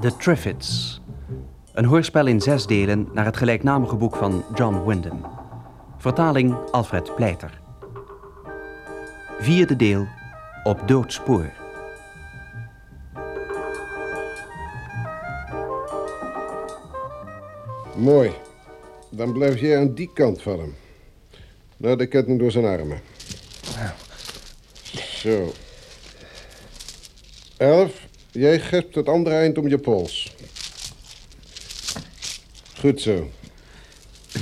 The Triffids. Een hoorspel in zes delen naar het gelijknamige boek van John Wyndham. Vertaling Alfred Pleiter. Vierde deel op doodspoor. Mooi. Dan blijf jij aan die kant van hem. Nou, de ketting door zijn armen. Zo. Elf, jij grespt het andere eind om je pols. Goed zo.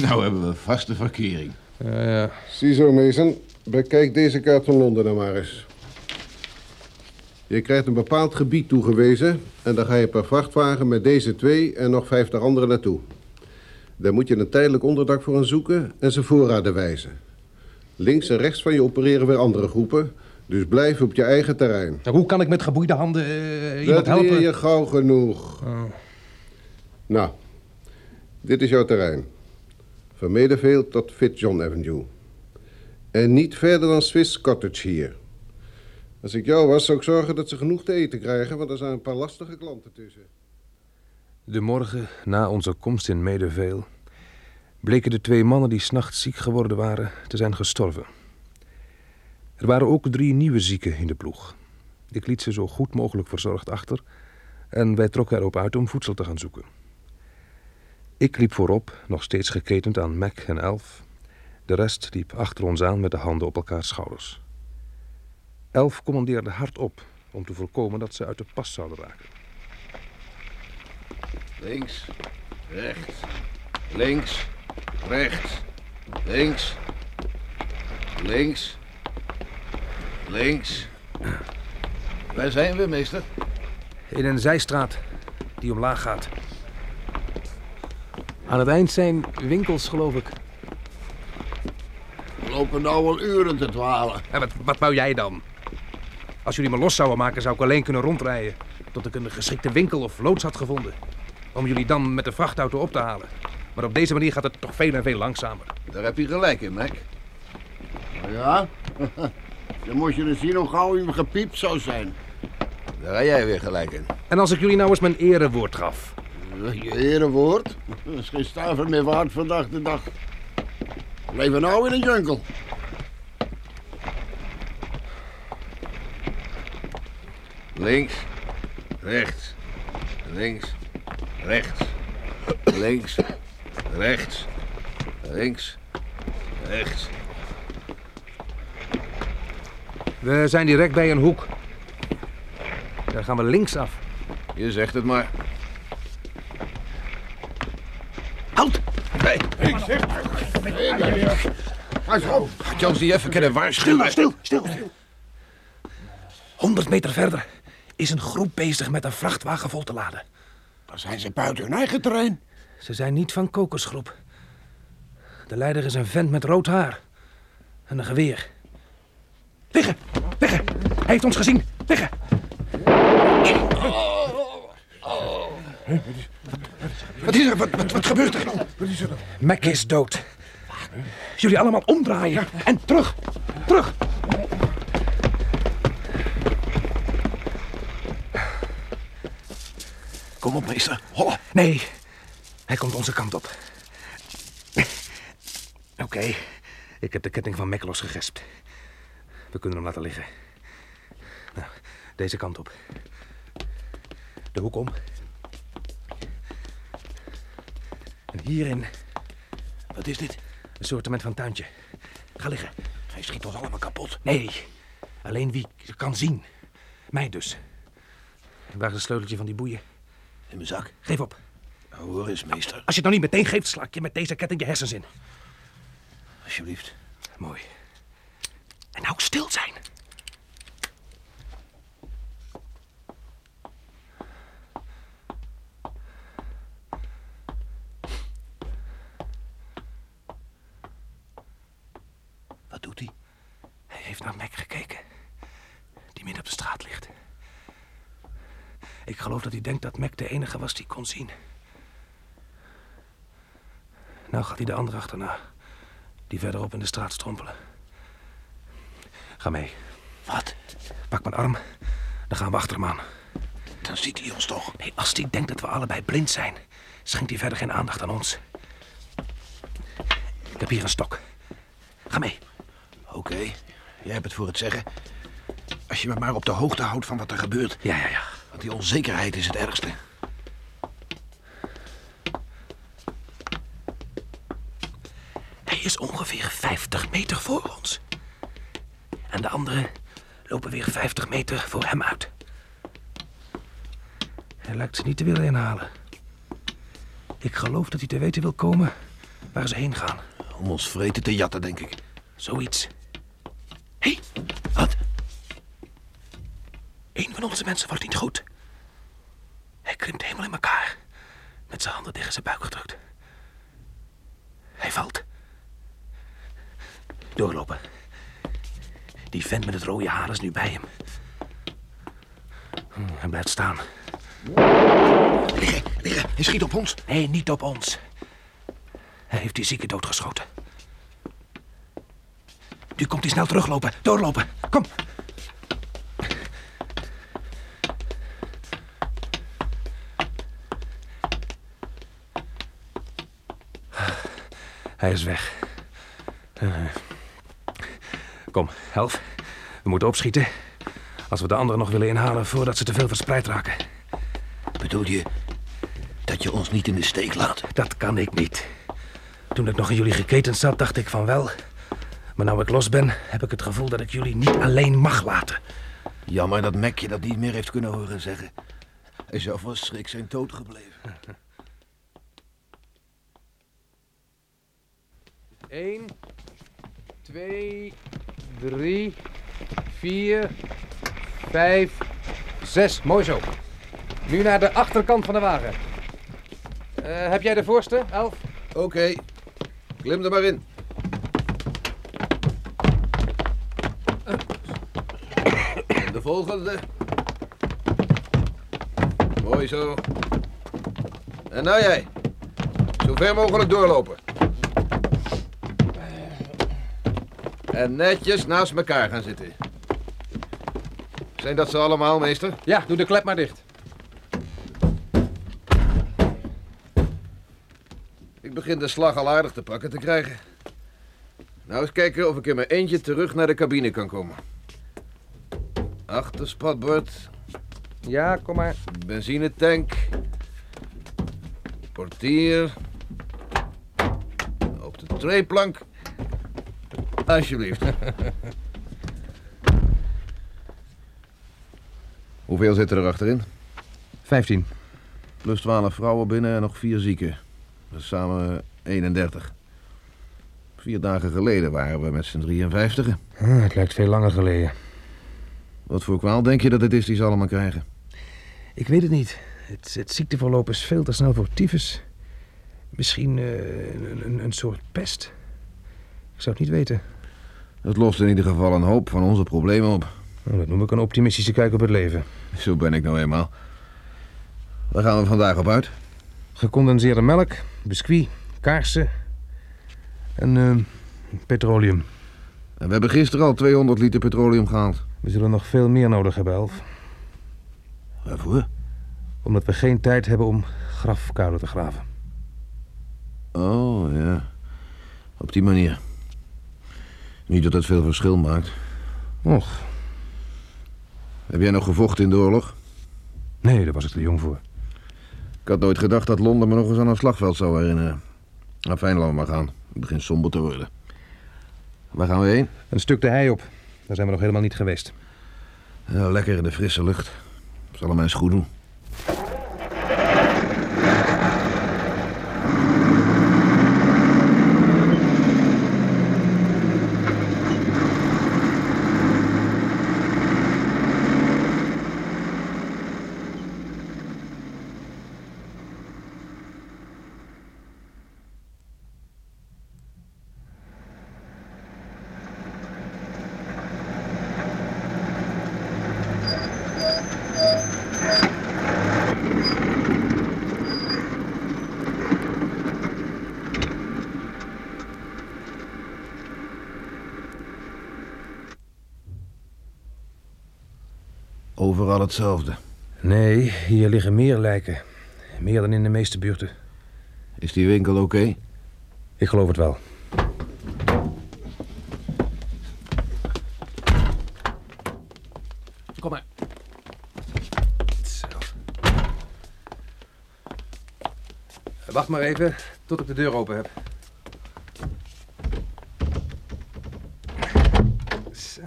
Nou hebben we vaste verkering. Ja, ja. Ziezo, Mason. Bekijk deze kaart van Londen dan maar eens. Je krijgt een bepaald gebied toegewezen... en dan ga je per vrachtwagen met deze twee en nog vijftig anderen naartoe. Daar moet je een tijdelijk onderdak voor hen zoeken en ze voorraden wijzen. Links en rechts van je opereren weer andere groepen... dus blijf op je eigen terrein. Nou, Hoe kan ik met geboeide handen eh, iemand Dat helpen? Oh. leer je gauw genoeg. Nou, dit is jouw terrein. Van Medefield tot Fitzjohn Avenue. En niet verder dan Swiss Cottage hier. Als ik jou was, zou ik zorgen dat ze genoeg te eten krijgen... want er zijn een paar lastige klanten tussen. De morgen na onze komst in Medeveel bleken de twee mannen die s'nachts ziek geworden waren te zijn gestorven. Er waren ook drie nieuwe zieken in de ploeg. Ik liet ze zo goed mogelijk verzorgd achter en wij trokken erop uit om voedsel te gaan zoeken. Ik liep voorop, nog steeds geketend aan Mac en Elf. De rest liep achter ons aan met de handen op elkaars schouders. Elf commandeerde hardop om te voorkomen dat ze uit de pas zouden raken. Links, rechts, links, rechts, links, links, links. Waar zijn we, meester? In een zijstraat die omlaag gaat. Aan het eind zijn winkels, geloof ik. We lopen nou al uren te dwalen. En wat, wat wou jij dan? Als jullie me los zouden maken, zou ik alleen kunnen rondrijden. Tot ik een geschikte winkel of loods had gevonden. Om jullie dan met de vrachtauto op te halen. Maar op deze manier gaat het toch veel en veel langzamer. Daar heb je gelijk in, Mac. Oh Ja? Dan moet je eens zien hoe gauw hem gepiept zou zijn. Daar heb jij weer gelijk in. En als ik jullie nou eens mijn erewoord gaf. Je herenwoord? Dat is geen stuiver meer waard vandaag de dag. We leven nou in een jungle. Links, rechts, links, rechts, links, rechts, links, rechts. We zijn direct bij een hoek. Daar gaan we links af. Je zegt het maar. Houd! Hey, Had je ons niet even kunnen waarschuwen? Stil, stil, stil. 100 meter verder is een groep bezig met een vrachtwagen vol te laden. Dan zijn ze buiten hun eigen terrein. Ze zijn niet van kokosgroep. De leider is een vent met rood haar en een geweer. Liggen, liggen. Hij heeft ons gezien. Liggen. Wat is er? Wat, wat, wat gebeurt er? Mac is dood. Jullie allemaal omdraaien en terug, terug. Kom op, meester. Holla. Nee, hij komt onze kant op. Oké, ik heb de ketting van Mac losgegespt. We kunnen hem laten liggen. Nou, deze kant op. De hoek om. En hierin. Wat is dit? Een soortement van tuintje. Ga liggen. Hij schiet ons allemaal kapot. Nee, alleen wie kan zien. Mij dus. Waar is het sleuteltje van die boeien? In mijn zak. Geef op. Hoor eens, meester. Als je het nou niet meteen geeft, sla ik je met deze ketting je hersens in. Alsjeblieft. Mooi. En nou stil zijn. Wat doet hij? Hij heeft naar Mac gekeken. Die midden op de straat ligt. Ik geloof dat hij denkt dat Mac de enige was die kon zien. Nou gaat hij de andere achterna. Die verderop in de straat strompelen. Ga mee. Wat? Pak mijn arm. Dan gaan we achter hem aan. Dan ziet hij ons toch. Nee, als hij denkt dat we allebei blind zijn, schenkt hij verder geen aandacht aan ons. Ik heb hier een stok. Ga mee. Oké, jij hebt het voor het zeggen. Als je me maar op de hoogte houdt van wat er gebeurt. Ja, ja, ja. Want die onzekerheid is het ergste. Hij is ongeveer 50 meter voor ons. En de anderen lopen weer 50 meter voor hem uit. Hij lijkt ze niet te willen inhalen. Ik geloof dat hij te weten wil komen waar ze heen gaan. Om ons vreten te jatten, denk ik. Zoiets. Hé, wat? Eén van onze mensen wordt niet goed. Hij krimpt helemaal in elkaar. Met zijn handen tegen zijn buik gedrukt. Hij valt. Doorlopen. Die vent met het rode haar is nu bij hem. Hm, Hij blijft staan. Liggen, liggen. Hij schiet op ons. Nee, niet op ons. Hij heeft die zieke doodgeschoten. Nu komt hij snel teruglopen. Doorlopen. Kom. Hij is weg. Eh, Kom, Elf. We moeten opschieten. Als we de anderen nog willen inhalen voordat ze te veel verspreid raken. Bedoel je dat je ons niet in de steek laat? Dat kan ik niet. Toen ik nog in jullie geketend zat, dacht ik van wel. Maar nu ik los ben, heb ik het gevoel dat ik jullie niet alleen mag laten. Jammer dat Mac je dat niet meer heeft kunnen horen zeggen. Hij zou van schrik zijn dood gebleven. 1, 2, 3, 4, 5, 6. Mooi zo. Nu naar de achterkant van de wagen. Eh, heb jij de voorste, Elf? Oké, klim er maar in. En de volgende. Mooi zo. En nou jij. Zo ver mogelijk doorlopen. En netjes naast elkaar gaan zitten. Zijn dat ze allemaal, meester? Ja, doe de klep maar dicht. Ik begin de slag al aardig te pakken te krijgen. Nou eens kijken of ik in mijn eentje terug naar de cabine kan komen. Achter spatbord, Ja, kom maar. benzinetank, portier, op de treeplank. Alsjeblieft. Hoeveel zitten er achterin? Vijftien. Plus 12 vrouwen binnen en nog vier zieken. Dat is samen eh, 31. Vier dagen geleden waren we met z'n 53. Ah, het lijkt veel langer geleden. Wat voor kwaal denk je dat het is die ze allemaal krijgen? Ik weet het niet. Het, het ziekteverloop is veel te snel voor tyfus. Misschien eh, een, een, een soort pest. Ik zou het niet weten. Dat lost in ieder geval een hoop van onze problemen op. Nou, dat noem ik een optimistische kijk op het leven. Zo ben ik nou eenmaal. Waar gaan we vandaag op uit? Gecondenseerde melk, biscuit, kaarsen en eh, petroleum. En we hebben gisteren al 200 liter petroleum gehaald. We zullen nog veel meer nodig hebben, Elf. Waarvoor? Omdat we geen tijd hebben om grafkuilen te graven. Oh ja. Op die manier. Niet dat het veel verschil maakt. Och, Heb jij nog gevochten in de oorlog? nee, daar was ik te jong voor. Ik had nooit gedacht dat Londen me nog eens aan een slagveld zou herinneren. Nou, fijn, laten we maar gaan. Het begint somber te worden. Waar gaan we heen? Een stuk de hei op. Daar zijn we nog helemaal niet geweest. Ja, lekker in de frisse lucht. Zal hem eens goed doen. Overal hetzelfde. Nee, hier liggen meer lijken. Meer dan in de meeste buurten. Is die winkel oké? Ik geloof het wel. Kom maar. Zo. Wacht maar even tot ik de deur open heb. Zo.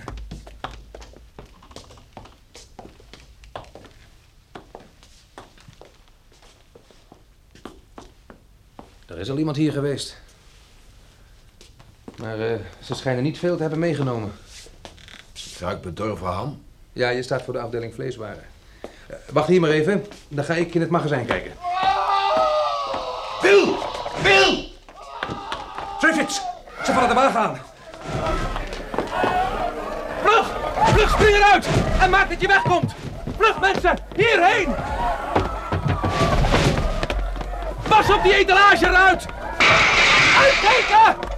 Er is al iemand hier geweest. Maar eh, ze schijnen niet veel te hebben meegenomen. Ruikt bedorven ham. Ja, je staat voor de afdeling vleeswaren. Eh, wacht hier maar even, dan ga ik in het magazijn kijken. Wil! Wil! Triffids! Ze vallen de wagen aan! Vlug! Vlug, spring eruit! En maak dat je wegkomt! Vlug, mensen! Hierheen! Pas op die etalage eruit! Uitkijken!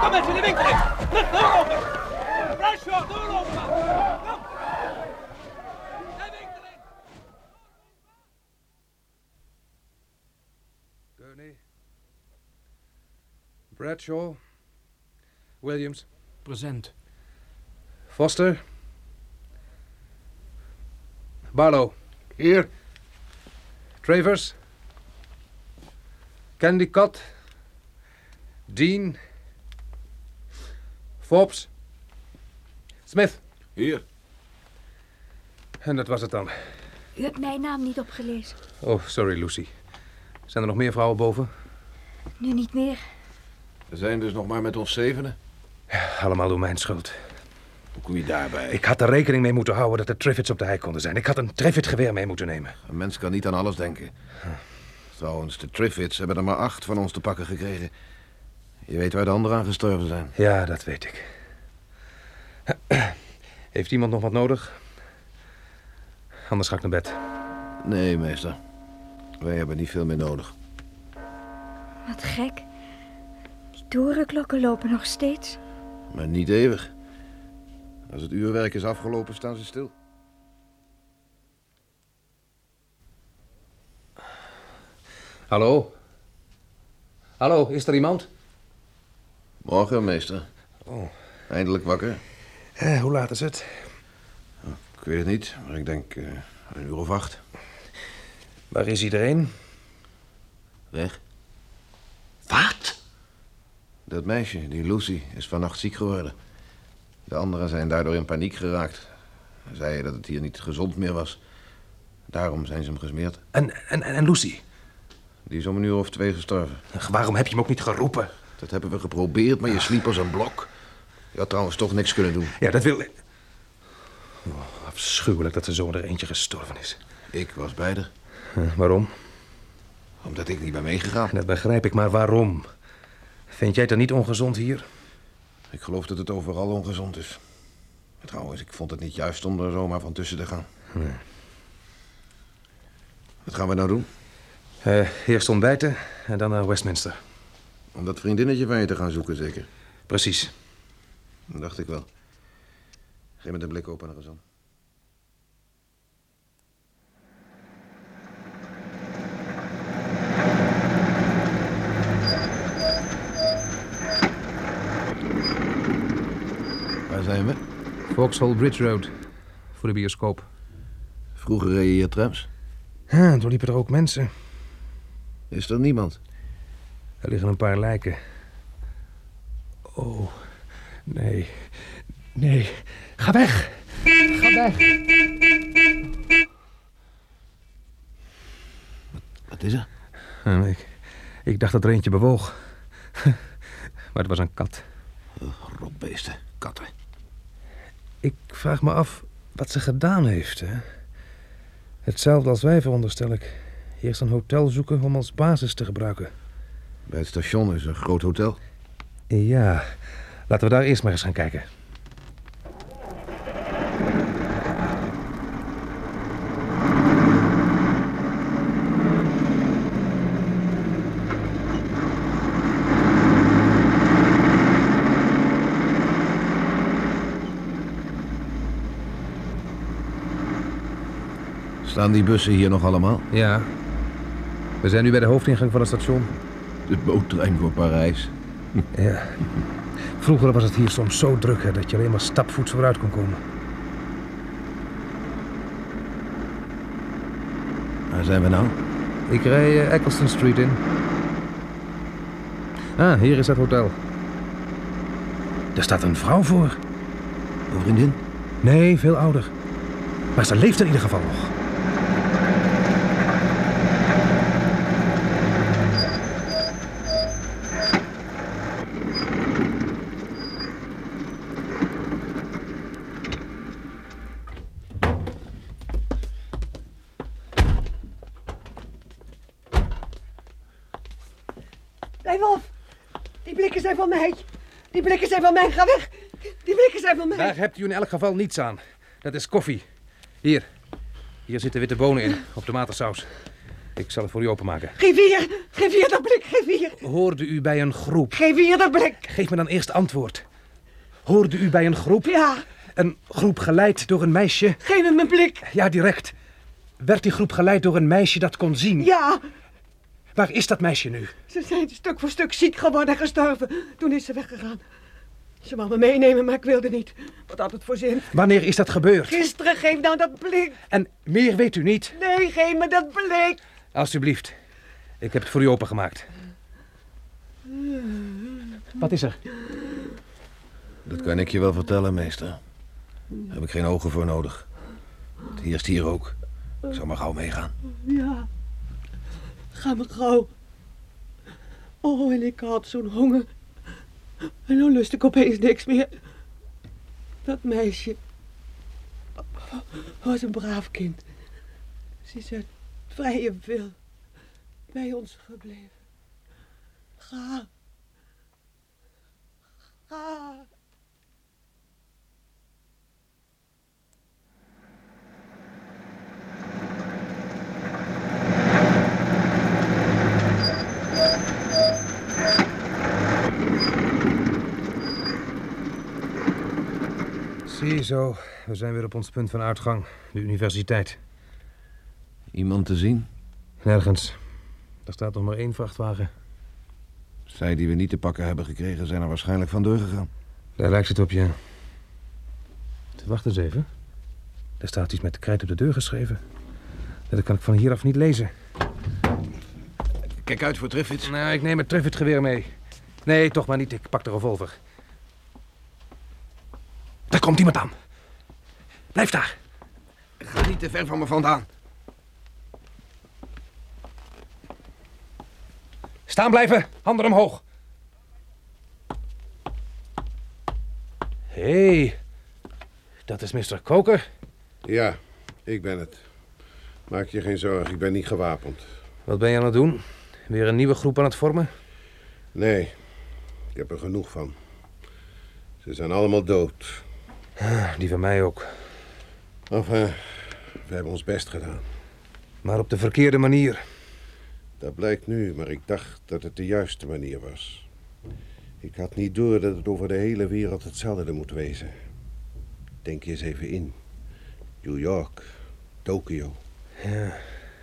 Kom mensen, de winkel in! Vlug, doorlopen! Bruisje, doorlopen! man. Kom! De winkel in! Kearney. Bradshaw. Williams. Present. Foster. Barlow. Hier. Travers. Candycott. Dean. Forbes. Smith. Hier. En dat was het dan. U hebt mijn naam niet opgelezen. Oh, sorry, Lucy. Zijn er nog meer vrouwen boven? Nu niet meer. We zijn dus nog maar met ons zevenen. Allemaal door mijn schuld. Hoe kom je daarbij? Ik had er rekening mee moeten houden dat er Triffids op de hei konden zijn. Ik had een Triffid-geweer mee moeten nemen. Een mens kan niet aan alles denken. Trouwens, de Triffids hebben er maar acht van ons te pakken gekregen. Je weet waar de anderen aan gestorven zijn. Ja, dat weet ik. Heeft iemand nog wat nodig? Anders ga ik naar bed. Nee, meester. Wij hebben niet veel meer nodig. Wat gek. Die torenklokken lopen nog steeds. Maar niet eeuwig. Als het uurwerk is afgelopen, staan ze stil. Hallo? Hallo, is er iemand? Morgen, meester. Oh. Eindelijk wakker. Eh, hoe laat is het? Ik weet het niet, maar ik denk eh, een uur of acht. Waar is iedereen? Weg. Wat? Dat meisje, die Lucy, is vannacht ziek geworden. De anderen zijn daardoor in paniek geraakt. Ze Zeiden dat het hier niet gezond meer was. Daarom zijn ze hem gesmeerd. En, en, en Lucy? Die is om een uur of twee gestorven. Ach, waarom heb je hem ook niet geroepen? Dat hebben we geprobeerd, maar je sliep als een blok. Je had trouwens toch niks kunnen doen. Ja, dat wil... Oh, afschuwelijk dat er zo er eentje gestorven is. Ik was bij haar, Hm, waarom? omdat ik niet ben meegegaan. Dat begrijp ik, maar waarom? Vind jij het dan niet ongezond hier? Ik geloof dat het overal ongezond is. Trouwens, ik vond het niet juist om er zomaar van tussen te gaan. Wat gaan we nou doen? Eh, eerst ontbijten en dan naar Westminster. Om dat vriendinnetje van je te gaan zoeken, zeker? Precies. Dat dacht ik wel. Geef me de blik open, Razan. Waar zijn we? Vauxhall Bridge Road. Voor de bioscoop. Vroeger reed je hier trams. Ja, Ah, toen liepen er ook mensen. Is er niemand? Er liggen een paar lijken. Oh, nee. Nee. Ga weg! Ga weg! Wat is er? En Eh, ik, ik dacht dat er eentje bewoog. maar het was een kat. Rotbeesten, katten. Ik vraag me af wat ze gedaan heeft, hè? Hetzelfde als wij, veronderstel ik. Eerst een hotel zoeken om als basis te gebruiken. Bij het station is een groot hotel. Ja, laten we daar eerst maar eens gaan kijken. Staan die bussen hier nog allemaal? Ja. We zijn nu bij de hoofdingang van het station. De boottrein voor Parijs. Ja. Vroeger was het hier soms zo druk hè, dat je alleen maar stapvoets vooruit kon komen. Waar zijn we nou? Ik rij eh, Eccleston Street in. Ah, hier is het hotel. Daar staat een vrouw voor. Een vriendin? Nee, veel ouder. Maar ze leeft in ieder geval nog. Blijf af. Die blikken zijn van mij. Die blikken zijn van mij. Ga weg. Die blikken zijn van mij. Daar hebt u in elk geval niets aan. Dat is koffie. Hier. Hier zitten witte bonen in, op tomatensaus. Ik zal het voor u openmaken. Geef hier. Geef hier dat blik. Geef hier. Hoorde u bij een groep? Geef hier dat blik. Geef me dan eerst antwoord. Hoorde u bij een groep? Ja. Een groep geleid door een meisje? Geef hem een blik. Ja, direct. Werd die groep geleid door een meisje dat kon zien? Ja. Waar is dat meisje nu? Ze zijn stuk voor stuk ziek geworden en gestorven. Toen is ze weggegaan. Ze wou me meenemen, maar ik wilde niet. Wat had het voor zin? Wanneer is dat gebeurd? Gisteren geef nou dat blik. En meer weet u niet? Nee, geef me dat blik. Alsjeblieft. Ik heb het voor u opengemaakt. Wat is er? Dat kan ik je wel vertellen, meester. Daar heb ik geen ogen voor nodig. Het heerst hier ook. Ik zal maar gauw meegaan. Ja. Ga maar gauw. Oh, en ik had zo'n honger. En dan lust ik opeens niks meer. Dat meisje was een braaf kind. Ze is uit vrije wil bij ons gebleven. Ga. Ga. Ziezo, we zijn weer op ons punt van uitgang. De universiteit. Iemand te zien? Nergens. Er staat nog maar één vrachtwagen. Zij die we niet te pakken hebben gekregen zijn er waarschijnlijk vandoor gegaan. Daar lijkt het op, ja. Wacht eens even. Daar staat iets met krijt op de deur geschreven. Dat kan ik van hieraf niet lezen. Kijk uit voor Triffids. Nou, ik neem het treffertgeweer mee. Nee, toch maar niet. Ik pak de revolver. Daar komt iemand aan. Blijf daar. Ga niet te ver van me vandaan. Staan blijven. Handen omhoog. Hé, hey, dat is Mr. Koker. Ja, ik ben het. Maak je geen zorgen, ik ben niet gewapend. Wat ben je aan het doen? Weer een nieuwe groep aan het vormen? Nee, ik heb er genoeg van. Ze zijn allemaal dood. Nou, Die van mij ook. Enfin, we hebben ons best gedaan. Maar op de verkeerde manier. Dat blijkt nu, maar ik dacht dat het de juiste manier was. Ik had niet door dat het over de hele wereld hetzelfde moet wezen. Denk je eens even in. New York, Tokio. Ja,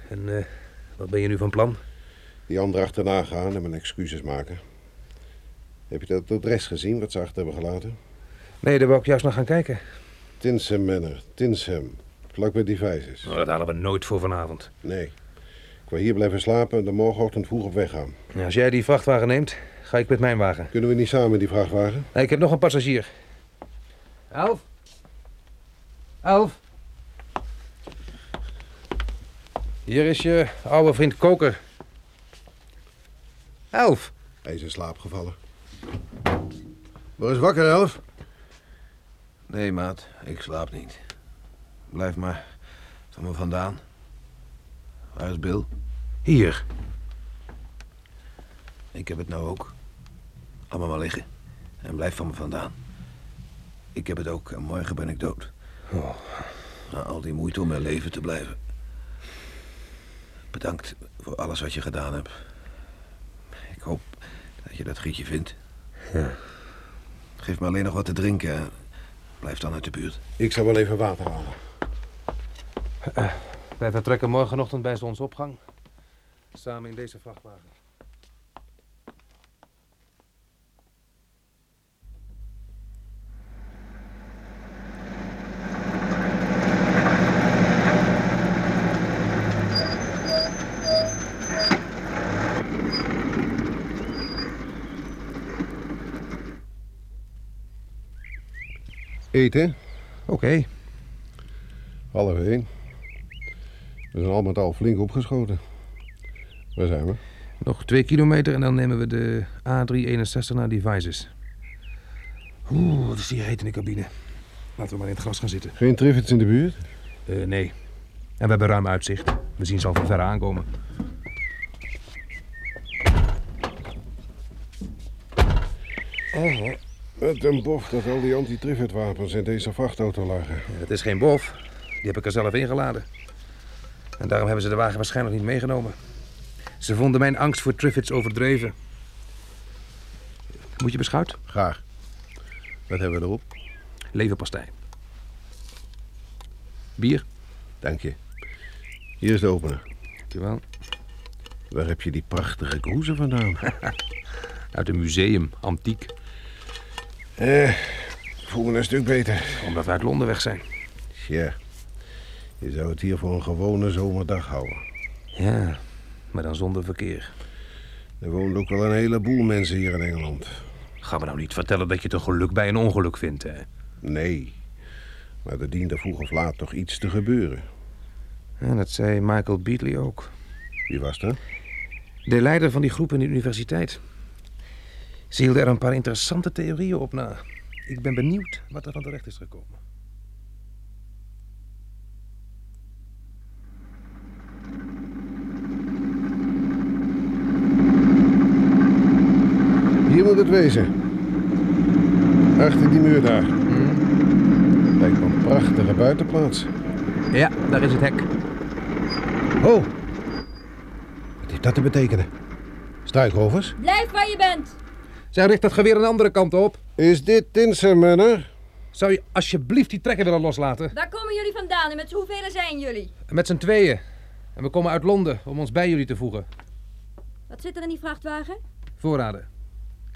en eh, wat ben je nu van plan? Die anderen achterna gaan en mijn excuses maken. Heb je dat adres gezien wat ze achter hebben gelaten? Nee, daar wou ik juist nog gaan kijken. Tinsem Manor, Tinsem. Vlak bij Devices. Nou, dat halen we nooit voor vanavond. Nee. Ik wil hier blijven slapen en dan morgenochtend vroeg op weg gaan. Nou, als jij die vrachtwagen neemt, ga ik met mijn wagen. Kunnen we niet samen die vrachtwagen? Nee, ik heb nog een passagier. Elf? Elf? Hier is je oude vriend Koker. Elf? Hij is in slaap gevallen. Word eens wakker, Elf. Nee, maat. Ik slaap niet. Blijf maar van me vandaan. Waar is Bill? Hier. Ik heb het nou ook. Laat me maar liggen. En blijf van me vandaan. Ik heb het ook en morgen ben ik dood. Oh. Na al die moeite om mijn leven te blijven. Bedankt voor alles wat je gedaan hebt. Ik hoop dat je dat gietje vindt. Ja. Geef me alleen nog wat te drinken. en Blijf dan uit de buurt. Ik zal wel even water halen. Eh, Wij vertrekken morgenochtend bij zonsopgang. Samen in deze vrachtwagen. Eten? Oké. Okay. Half één. We zijn al met al flink opgeschoten. Waar zijn we? Nog twee kilometer en dan nemen we de A361 naar Devices. Oeh, wat is hier heet in de cabine. Laten we maar in het gras gaan zitten. Geen Triffids in de buurt? Uh, nee. En we hebben ruim uitzicht. We zien ze al van ver aankomen. Oh, het een bof dat al die anti wapens in deze vrachtauto lagen. Ja, het is geen bof. Die heb ik er zelf ingeladen. En daarom hebben ze de wagen waarschijnlijk niet meegenomen. Ze vonden mijn angst voor Triffids overdreven. Moet je beschuit? Graag. Wat hebben we erop? Leverpastei. Bier? Dank je. Hier is de opener. Dankjewel. Waar heb je die prachtige kroezen vandaan? Uit een museum, antiek. Eh, voel me een stuk beter. Omdat we uit Londen weg zijn. Ja. Je zou het hier voor een gewone zomerdag houden. Ja, maar dan zonder verkeer. Er woont ook wel een heleboel mensen hier in Engeland. Ga me nou niet vertellen dat je het geluk bij een ongeluk vindt, hè? Nee, maar er diende vroeg of laat toch iets te gebeuren. Ja, dat zei Michael Beatley ook. Wie was dat? De leider van die groep in de universiteit. Ze hielden er een paar interessante theorieën op na. Ik ben benieuwd wat er van terecht is gekomen. Hier moet het wezen. Achter die muur daar. Hmm. Lijkt me een prachtige buitenplaats. Ja, daar is het hek. Oh! Wat heeft dat te betekenen? Struikrovers? Blijf waar je bent! Zij richt dat geweer een andere kant op. Is dit Tinsenmunner? Zou je alsjeblieft die trekker willen loslaten? Waar komen jullie vandaan en met hoeveel zijn jullie? Met z'n tweeën. En we komen uit Londen om ons bij jullie te voegen. Wat zit er in die vrachtwagen? Voorraden.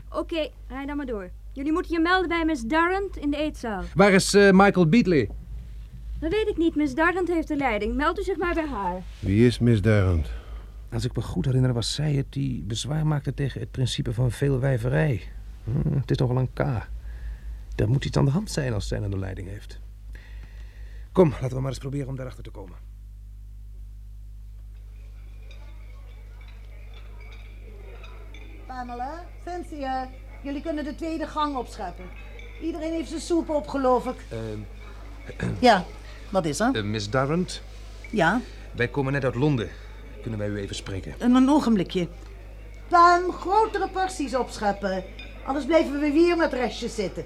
Oké, okay, rij dan maar door. Jullie moeten je melden bij Miss Darrant in de eetzaal. Waar is uh, Michael Beatley? Dat weet ik niet. Miss Darrant heeft de leiding. Meld u zich maar bij haar. Wie is Miss Darrant? Als ik me goed herinner, was zij het die bezwaar maakte tegen het principe van veelwijverij. Hm, het is toch wel een K. Er moet iets aan de hand zijn als zij aan de leiding heeft. Kom, laten we maar eens proberen om daarachter te komen. Pamela, Cynthia, eh, jullie kunnen de tweede gang opscheppen. Iedereen heeft zijn soep op, geloof ik. Uh, ja, wat is er? Uh, Miss Darrant? Ja? Wij komen net uit Londen. Kunnen wij u even spreken? Een, een ogenblikje. Pam, grotere porties opscheppen. Anders blijven we hier met restjes zitten.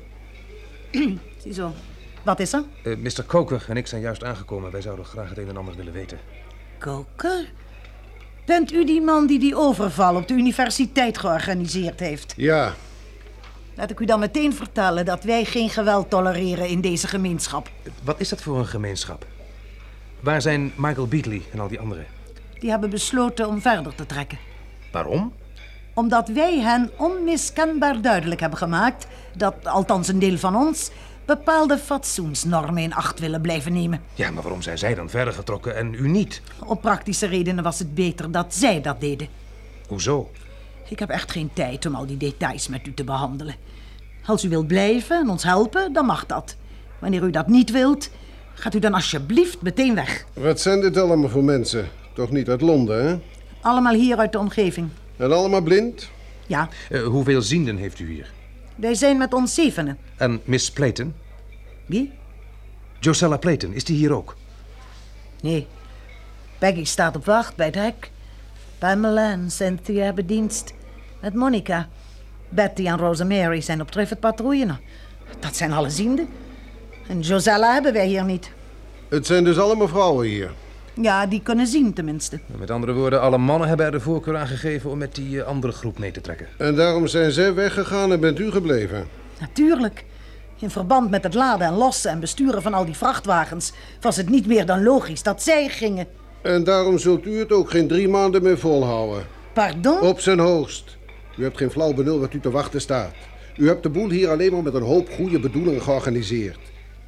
Ziezo. Wat is er? Uh, Mr. Koker en ik zijn juist aangekomen. Wij zouden graag het een en ander willen weten. Koker? Bent u die man die die overval op de universiteit georganiseerd heeft? Ja. Laat ik u dan meteen vertellen dat wij geen geweld tolereren in deze gemeenschap. Wat is dat voor een gemeenschap? Waar zijn Michael Beatley en al die anderen? die hebben besloten om verder te trekken. Waarom? Omdat wij hen onmiskenbaar duidelijk hebben gemaakt dat, althans een deel van ons, bepaalde fatsoensnormen in acht willen blijven nemen. Ja, maar waarom zijn zij dan verder getrokken en u niet? Op praktische redenen was het beter dat zij dat deden. Hoezo? Ik heb echt geen tijd om al die details met u te behandelen. Als u wilt blijven en ons helpen, dan mag dat. Wanneer u dat niet wilt, gaat u dan alsjeblieft meteen weg. Wat zijn dit allemaal voor mensen? Toch niet uit Londen, hè? Allemaal hier uit de omgeving. En allemaal blind? Ja. Uh, hoeveel zienden heeft u hier? Wij zijn met ons zevenen. En Miss Platen? Wie? Josella Platen, is die hier ook? Nee. Peggy staat op wacht bij het hek. Pamela en Cynthia hebben dienst. Met Monica. Betty en Rosemary zijn op Triffid patrouille. Dat zijn alle zienden. En Josella hebben wij hier niet. Het zijn dus allemaal vrouwen hier? Ja, die kunnen zien tenminste. Met andere woorden, alle mannen hebben er de voorkeur aan gegeven om met die eh, andere groep mee te trekken. En daarom zijn zij weggegaan en bent u gebleven? Natuurlijk. In verband met het laden en lossen en besturen van al die vrachtwagens was het niet meer dan logisch dat zij gingen. En daarom zult u het ook geen drie maanden meer volhouden. Pardon? Op zijn hoogst. U hebt geen flauw benul wat u te wachten staat. U hebt de boel hier alleen maar met een hoop goede bedoelingen georganiseerd.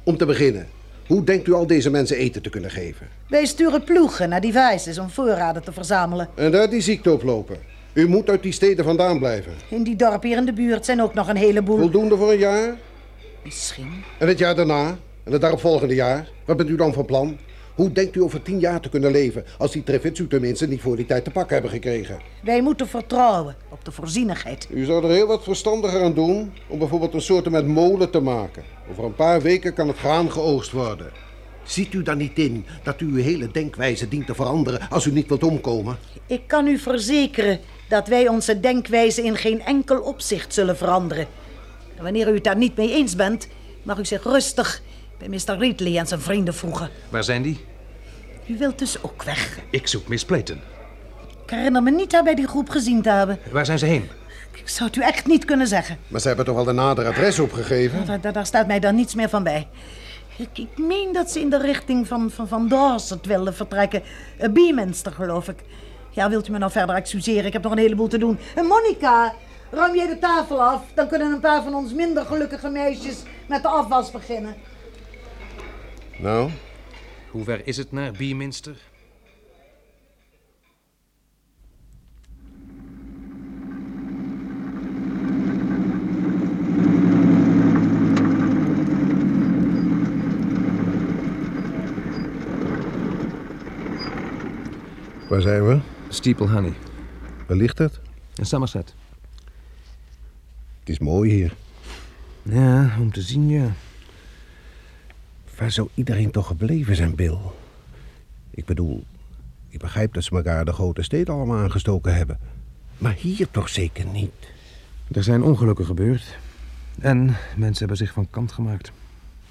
Om te beginnen, hoe denkt u al deze mensen eten te kunnen geven? Wij sturen ploegen naar die wijzes om voorraden te verzamelen. En daar die ziekte oplopen. U moet uit die steden vandaan blijven. In die dorpen hier in de buurt zijn ook nog een heleboel. Voldoende voor een jaar? Misschien. En het jaar daarna? En het daaropvolgende jaar? Wat bent u dan van plan? Hoe denkt u over tien jaar te kunnen leven als die Trevits u tenminste niet voor die tijd te pakken hebben gekregen? Wij moeten vertrouwen op de voorzienigheid. U zou er heel wat verstandiger aan doen om bijvoorbeeld een soort met molen te maken. Over een paar weken kan het graan geoogst worden. Ziet u dan niet in dat u uw hele denkwijze dient te veranderen als u niet wilt omkomen? Ik kan u verzekeren dat wij onze denkwijze in geen enkel opzicht zullen veranderen. En wanneer u het daar niet mee eens bent, mag u zich rustig bij Mr. Ridley en zijn vrienden vroegen. Waar zijn die? U wilt dus ook weg. Ik zoek Miss Playton. Ik herinner me niet haar bij die groep gezien te hebben. Waar zijn ze heen? Ik zou het u echt niet kunnen zeggen. Maar ze hebben toch al de nadere adres opgegeven? Daar, daar, daar staat mij dan niets meer van bij. Ik, ik meen dat ze in de richting van, van, van Dorset wilden vertrekken. Eh, Beeminster, geloof ik. Ja, wilt u me nou verder excuseren? Ik heb nog een heleboel te doen. En Monica, ruim jij de tafel af. Dan kunnen een paar van ons minder gelukkige meisjes met de afwas beginnen. Nou, Hoe ver is het naar Beeminster? waar zijn we? Steeple Honey, Waar ligt het? in Somerset. Het is mooi hier. Ja, om te zien, ja. Waar zou iedereen toch gebleven zijn, Bill? Ik bedoel, ik begrijp dat ze elkaar de grote steden allemaal aangestoken hebben. Maar hier toch zeker niet? Er zijn ongelukken gebeurd. En mensen hebben zich van kant gemaakt.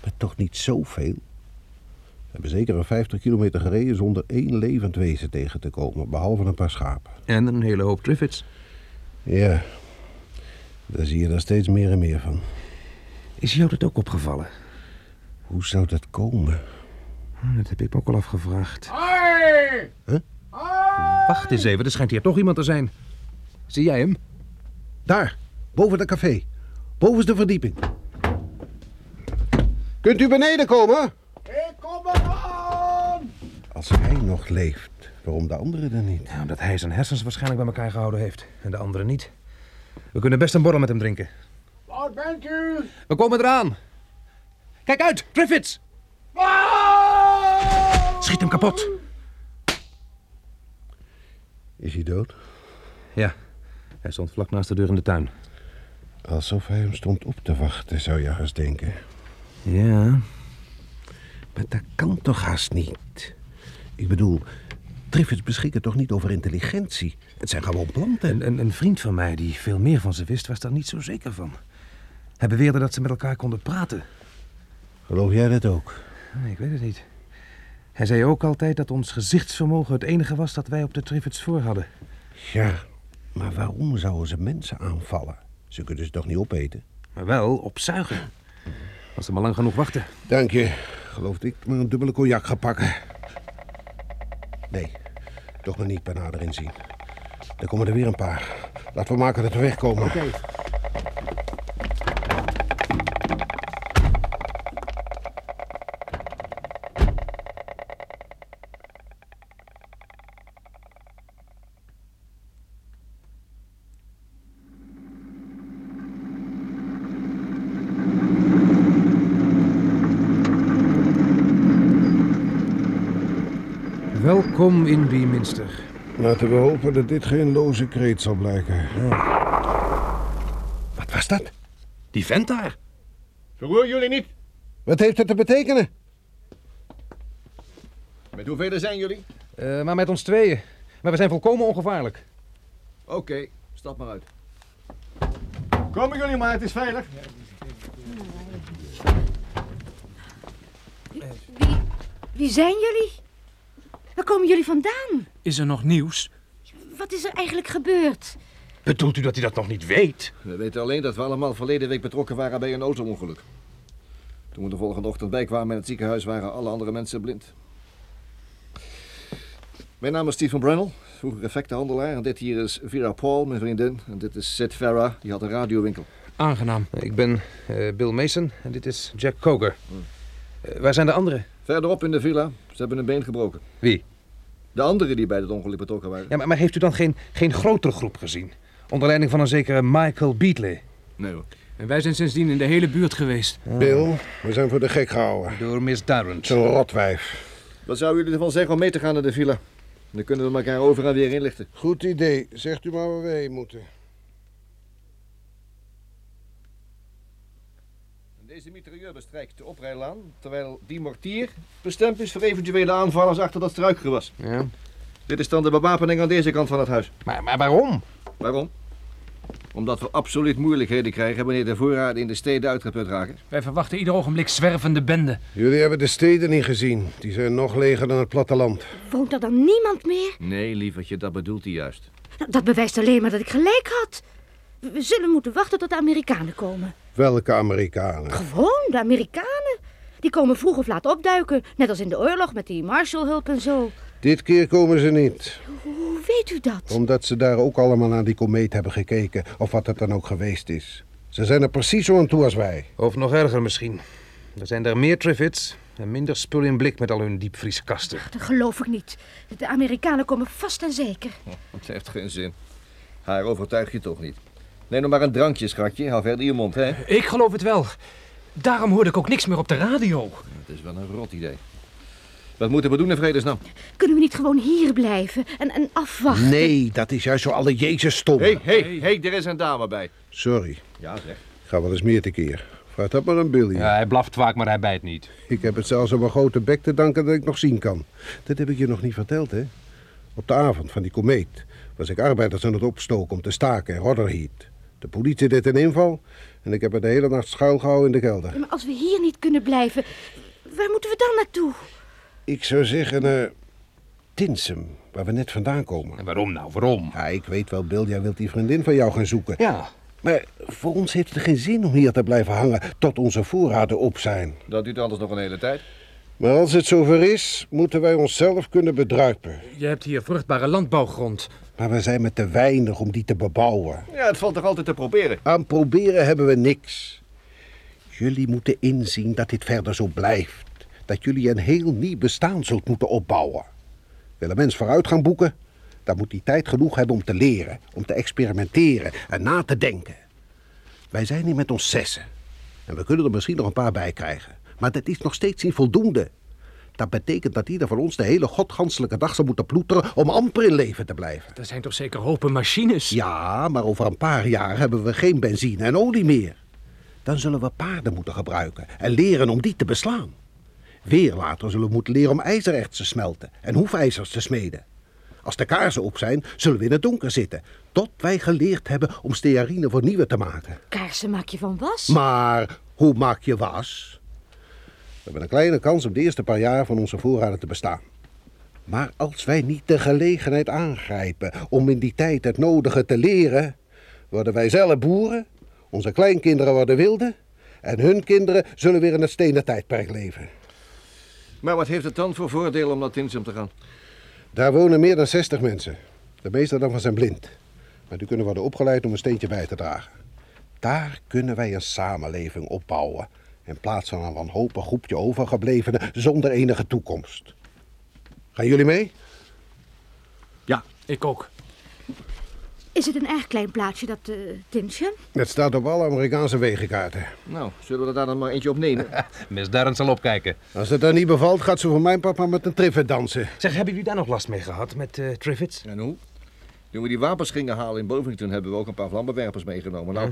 Maar toch niet zoveel? We hebben zeker een 50 kilometer gereden zonder één levend wezen tegen te komen, behalve een paar schapen. En een hele hoop Triffids. Ja, daar zie je er steeds meer en meer van. Is jou dat ook opgevallen? Hoe zou dat komen? Dat heb ik me ook al afgevraagd. Hoi! Wacht eens even, er schijnt hier toch iemand te zijn. Zie jij hem? Daar, boven dat café. Boven de verdieping. Kunt u beneden komen? Ik kom eraan! Als hij nog leeft, waarom de anderen dan niet? Ja, omdat hij zijn hersens waarschijnlijk bij elkaar gehouden heeft. En de anderen niet. We kunnen best een borrel met hem drinken. Waar bent u? We komen eraan. Kijk uit, Triffids! Schiet hem kapot. Is hij dood? Ja, hij stond vlak naast de deur in de tuin. Alsof hij hem stond op te wachten, zou je haast denken. Ja, Maar dat kan toch haast niet? Ik bedoel, Triffids beschikken toch niet over intelligentie? Het zijn gewoon planten. Een, een, een vriend van mij die veel meer van ze wist, was daar niet zo zeker van. Hij beweerde dat ze met elkaar konden praten. Geloof jij dat ook? Nee, Ah, ik weet het niet. Hij zei ook altijd dat ons gezichtsvermogen het enige was dat wij op de Triffids voor hadden. Ja, maar waarom zouden ze mensen aanvallen? Ze kunnen ze toch niet opeten? Maar wel opzuigen. Als ze maar lang genoeg wachten. Dank je. Geloof ik maar een dubbele cognac ga pakken. Nee, toch maar niet bij nader inzien. Er komen er weer een paar. Laten we maken dat we wegkomen. Welkom in Beeminster. Laten we hopen dat dit geen loze kreet zal blijken. Wat was dat? Die vent daar. Verroer jullie niet. Wat heeft het te betekenen? Met hoeveel zijn jullie? Eh, maar met ons tweeën. Maar we zijn volkomen ongevaarlijk. Oké, stap maar uit. Komen jullie maar, het is veilig. Wie zijn jullie? Waar komen jullie vandaan? Is er nog nieuws? Wat is er eigenlijk gebeurd? Bedoelt u dat hij dat nog niet weet? We weten alleen dat we allemaal verleden week betrokken waren bij een auto-ongeluk. Toen we de volgende ochtend bijkwamen in het ziekenhuis waren alle andere mensen blind. Mijn naam is Stephen Brennel, vroeger effectenhandelaar. En dit hier is Vera Paul, mijn vriendin. En dit is Sid Farah, die had een radiowinkel. Aangenaam. Ik ben eh, Bill Mason en dit is Jack Koger. Eh, waar zijn de anderen? Verderop in de villa, ze hebben een been gebroken. Wie? De anderen die bij het ongeluk betrokken waren. Ja, maar, maar heeft u dan geen, geen grotere groep gezien? Onder leiding van een zekere Michael Beatley. Nee hoor. En wij zijn sindsdien in de hele buurt geweest. Bill, we zijn voor de gek gehouden. Door Miss Darrent. Zo'n rotwijf. Wat zouden jullie ervan zeggen om mee te gaan naar de villa? Dan kunnen we elkaar over en weer inlichten. Goed idee. Zegt u maar waar wij heen moeten. Deze mitrailleur bestrijkt de oprijlaan, terwijl die mortier bestemd is voor eventuele aanvallers achter dat struikgewas. Ja. Dit is dan de bewapening aan deze kant van het huis. Maar, maar waarom? Waarom? Omdat we absoluut moeilijkheden krijgen wanneer de voorraden in de steden uitgeput raken. Wij verwachten ieder ogenblik zwervende benden. Jullie hebben de steden niet gezien. Die zijn nog leger dan het platteland. Woont er dan niemand meer? Nee, lievertje, dat bedoelt hij juist. Nou, Dat bewijst alleen maar dat ik gelijk had. We zullen moeten wachten tot de Amerikanen komen. Welke Amerikanen? Gewoon, de Amerikanen. Die komen vroeg of laat opduiken. Net als in de oorlog met die Marshallhulp en zo. Dit keer komen ze niet. Hoe- Hoe weet u dat? Omdat ze daar ook allemaal naar die komeet hebben gekeken. Of wat het dan ook geweest is. Ze zijn er precies zo aan toe als wij. Of nog erger misschien. Er zijn er meer Trivets en minder spul in blik met al hun diepvrieskasten. Dat geloof ik niet. De Amerikanen komen vast en zeker. Het heeft geen zin. Haar overtuig je toch niet. Neem nog maar een drankje, schatje. Hou verder je mond, hè? Ik geloof het wel. Daarom hoorde ik ook niks meer op de radio. Het is wel een rot idee. Wat moeten we doen in vredesnaam? Kunnen we niet gewoon hier blijven en, en afwachten? Nee, dat is juist zo alle Jezus stom. Hé, hé, hé, er is een dame bij. Sorry. Ja, zeg. Ik ga wel eens meer tekeer. Vraag dat maar aan Billy. Ja, hij blaft vaak, maar hij bijt niet. Ik heb het zelfs aan mijn grote bek te danken dat ik nog zien kan. Dat heb ik je nog niet verteld, hè? Op de avond van die komeet was ik arbeiders aan het opstoken om te staken in Rotherheat. De politie deed een inval en ik heb me de hele nacht schuilgehouden in de kelder. Ja, Maar als we hier niet kunnen blijven, waar moeten we dan naartoe? Ik zou zeggen, eh Tinsum, waar we net vandaan komen. En waarom nou, waarom? Ja, ik weet wel, Bill, jij wilt die vriendin van jou gaan zoeken. Ja. Maar voor ons heeft het geen zin om hier te blijven hangen tot onze voorraden op zijn. Dat duurt anders nog een hele tijd. Maar als het zover is, moeten wij onszelf kunnen bedruipen. Je hebt hier vruchtbare landbouwgrond. Maar we zijn met te weinig om die te bebouwen. Ja, het valt toch altijd te proberen? Aan proberen hebben we niks. Jullie moeten inzien dat dit verder zo blijft. Dat jullie een heel nieuw bestaan zult moeten opbouwen. Wil een mens vooruit gaan boeken, dan moet hij tijd genoeg hebben om te leren, om te experimenteren en na te denken. Wij zijn hier met ons zessen. En we kunnen er misschien nog een paar bij krijgen. Maar dat is nog steeds niet voldoende. Dat betekent dat ieder van ons de hele godganselijke dag zal moeten ploeteren om amper in leven te blijven. Er zijn toch zeker hopen machines? Ja, maar over een paar jaar hebben we geen benzine en olie meer. Dan zullen we paarden moeten gebruiken en leren om die te beslaan. Weer later zullen we moeten leren om ijzererts te smelten en hoefijzers te smeden. Als de kaarsen op zijn, zullen we in het donker zitten. Tot wij geleerd hebben om stearine voor nieuwe te maken. Kaarsen maak je van was? Maar hoe maak je was? We hebben een kleine kans om de eerste paar jaar van onze voorraden te bestaan. Maar als wij niet de gelegenheid aangrijpen om in die tijd het nodige te leren, worden wij zelf boeren, onze kleinkinderen worden wilden en hun kinderen zullen weer in het stenen tijdperk leven. Maar wat heeft het dan voor voordeel om naar Tinsum te gaan? Daar wonen meer dan 60 mensen. De meeste daarvan zijn blind. Maar die kunnen worden opgeleid om een steentje bij te dragen. Daar kunnen wij een samenleving opbouwen. In plaats van een wanhopig groepje overgeblevenen zonder enige toekomst. Gaan jullie mee? Ja, ik ook. Is het een erg klein plaatsje, dat eh Tinsje? Het staat op alle Amerikaanse wegenkaarten. Nou, zullen we er daar dan maar eentje op nemen? Miss Darrent zal opkijken. Als het haar niet bevalt, gaat ze voor mijn papa met een triffet dansen. Zeg, hebben jullie daar nog last mee gehad met eh Trivets? En hoe? Toen we die wapens gingen halen in Bovington hebben we ook een paar vlammenwerpers meegenomen. Nou,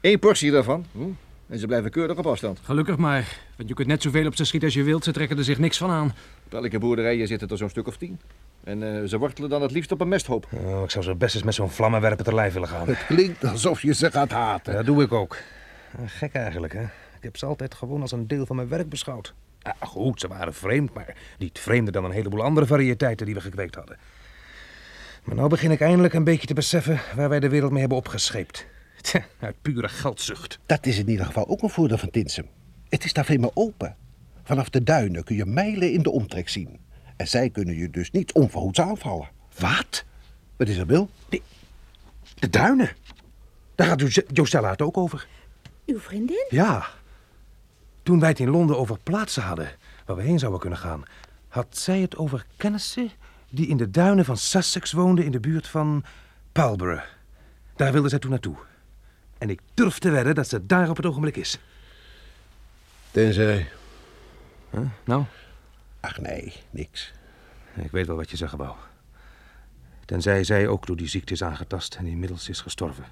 één portie daarvan. Hm? En ze blijven keurig op afstand. Gelukkig maar, want je kunt net zoveel op ze schieten als je wilt. Ze trekken er zich niks van aan. Op elke boerderij zitten er zo'n stuk of tien. En eh, ze wortelen dan het liefst op een mesthoop. Oh, ik zou zo best eens met zo'n vlammenwerper te lijf willen gaan. Het klinkt alsof je ze gaat haten. Dat doe ik ook. Eh, Gek eigenlijk, hè? Ik heb ze altijd gewoon als een deel van mijn werk beschouwd. Ah, goed, ze waren vreemd, maar niet vreemder dan een heleboel andere variëteiten die we gekweekt hadden. Maar nou begin ik eindelijk een beetje te beseffen waar wij de wereld mee hebben opgescheept. Tja, uit pure geldzucht. Dat is in ieder geval ook een voordeel van Tinsum. Het is daar veel meer open. Vanaf de duinen kun je mijlen in de omtrek zien. En zij kunnen je dus niet onverhoeds aanvallen. Wat? Wat is er, Bill? De duinen. Daar gaat Jo- Josella het ook over. Uw vriendin? Ja. Toen wij het in Londen over plaatsen hadden waar we heen zouden kunnen gaan, had zij het over kennissen die in de duinen van Sussex woonden in de buurt van Palborough. Daar wilde zij toen naartoe. En ik durf te wedden dat ze daar op het ogenblik is. Tenzij. Nou? Ach nee, niks. Ik weet wel wat je zeggen wou. Tenzij zij ook door die ziekte is aangetast en inmiddels is gestorven.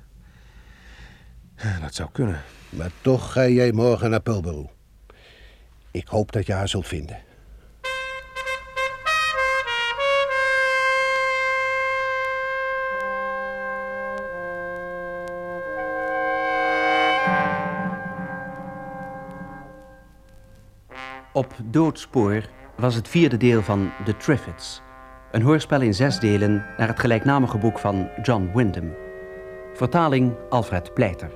Dat zou kunnen. Maar toch ga jij morgen naar Pulborough. Ik hoop dat je haar zult vinden. Op Doodspoor was het vierde deel van The Triffids. Een hoorspel in zes delen naar het gelijknamige boek van John Wyndham. Vertaling Alfred Pleiter.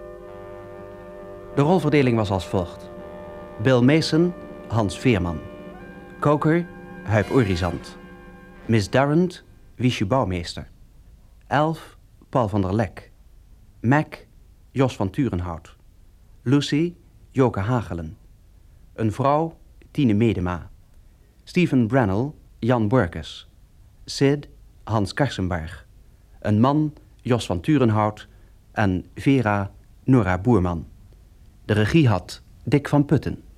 De rolverdeling was als volgt. Bill Mason, Hans Veerman. Koker, Huip Orizant. Miss Darrant, Wiesje Bouwmeester. Elf, Paul van der Lek. Mac, Jos van Turenhout. Lucy, Joke Hagelen. Een vrouw, Tine Medema. Stephen Brannell, Jan Borkes. Sid, Hans Karsenberg. Een man, Jos van Turenhout. En Vera, Nora Boerman. De regie had Dick van Putten.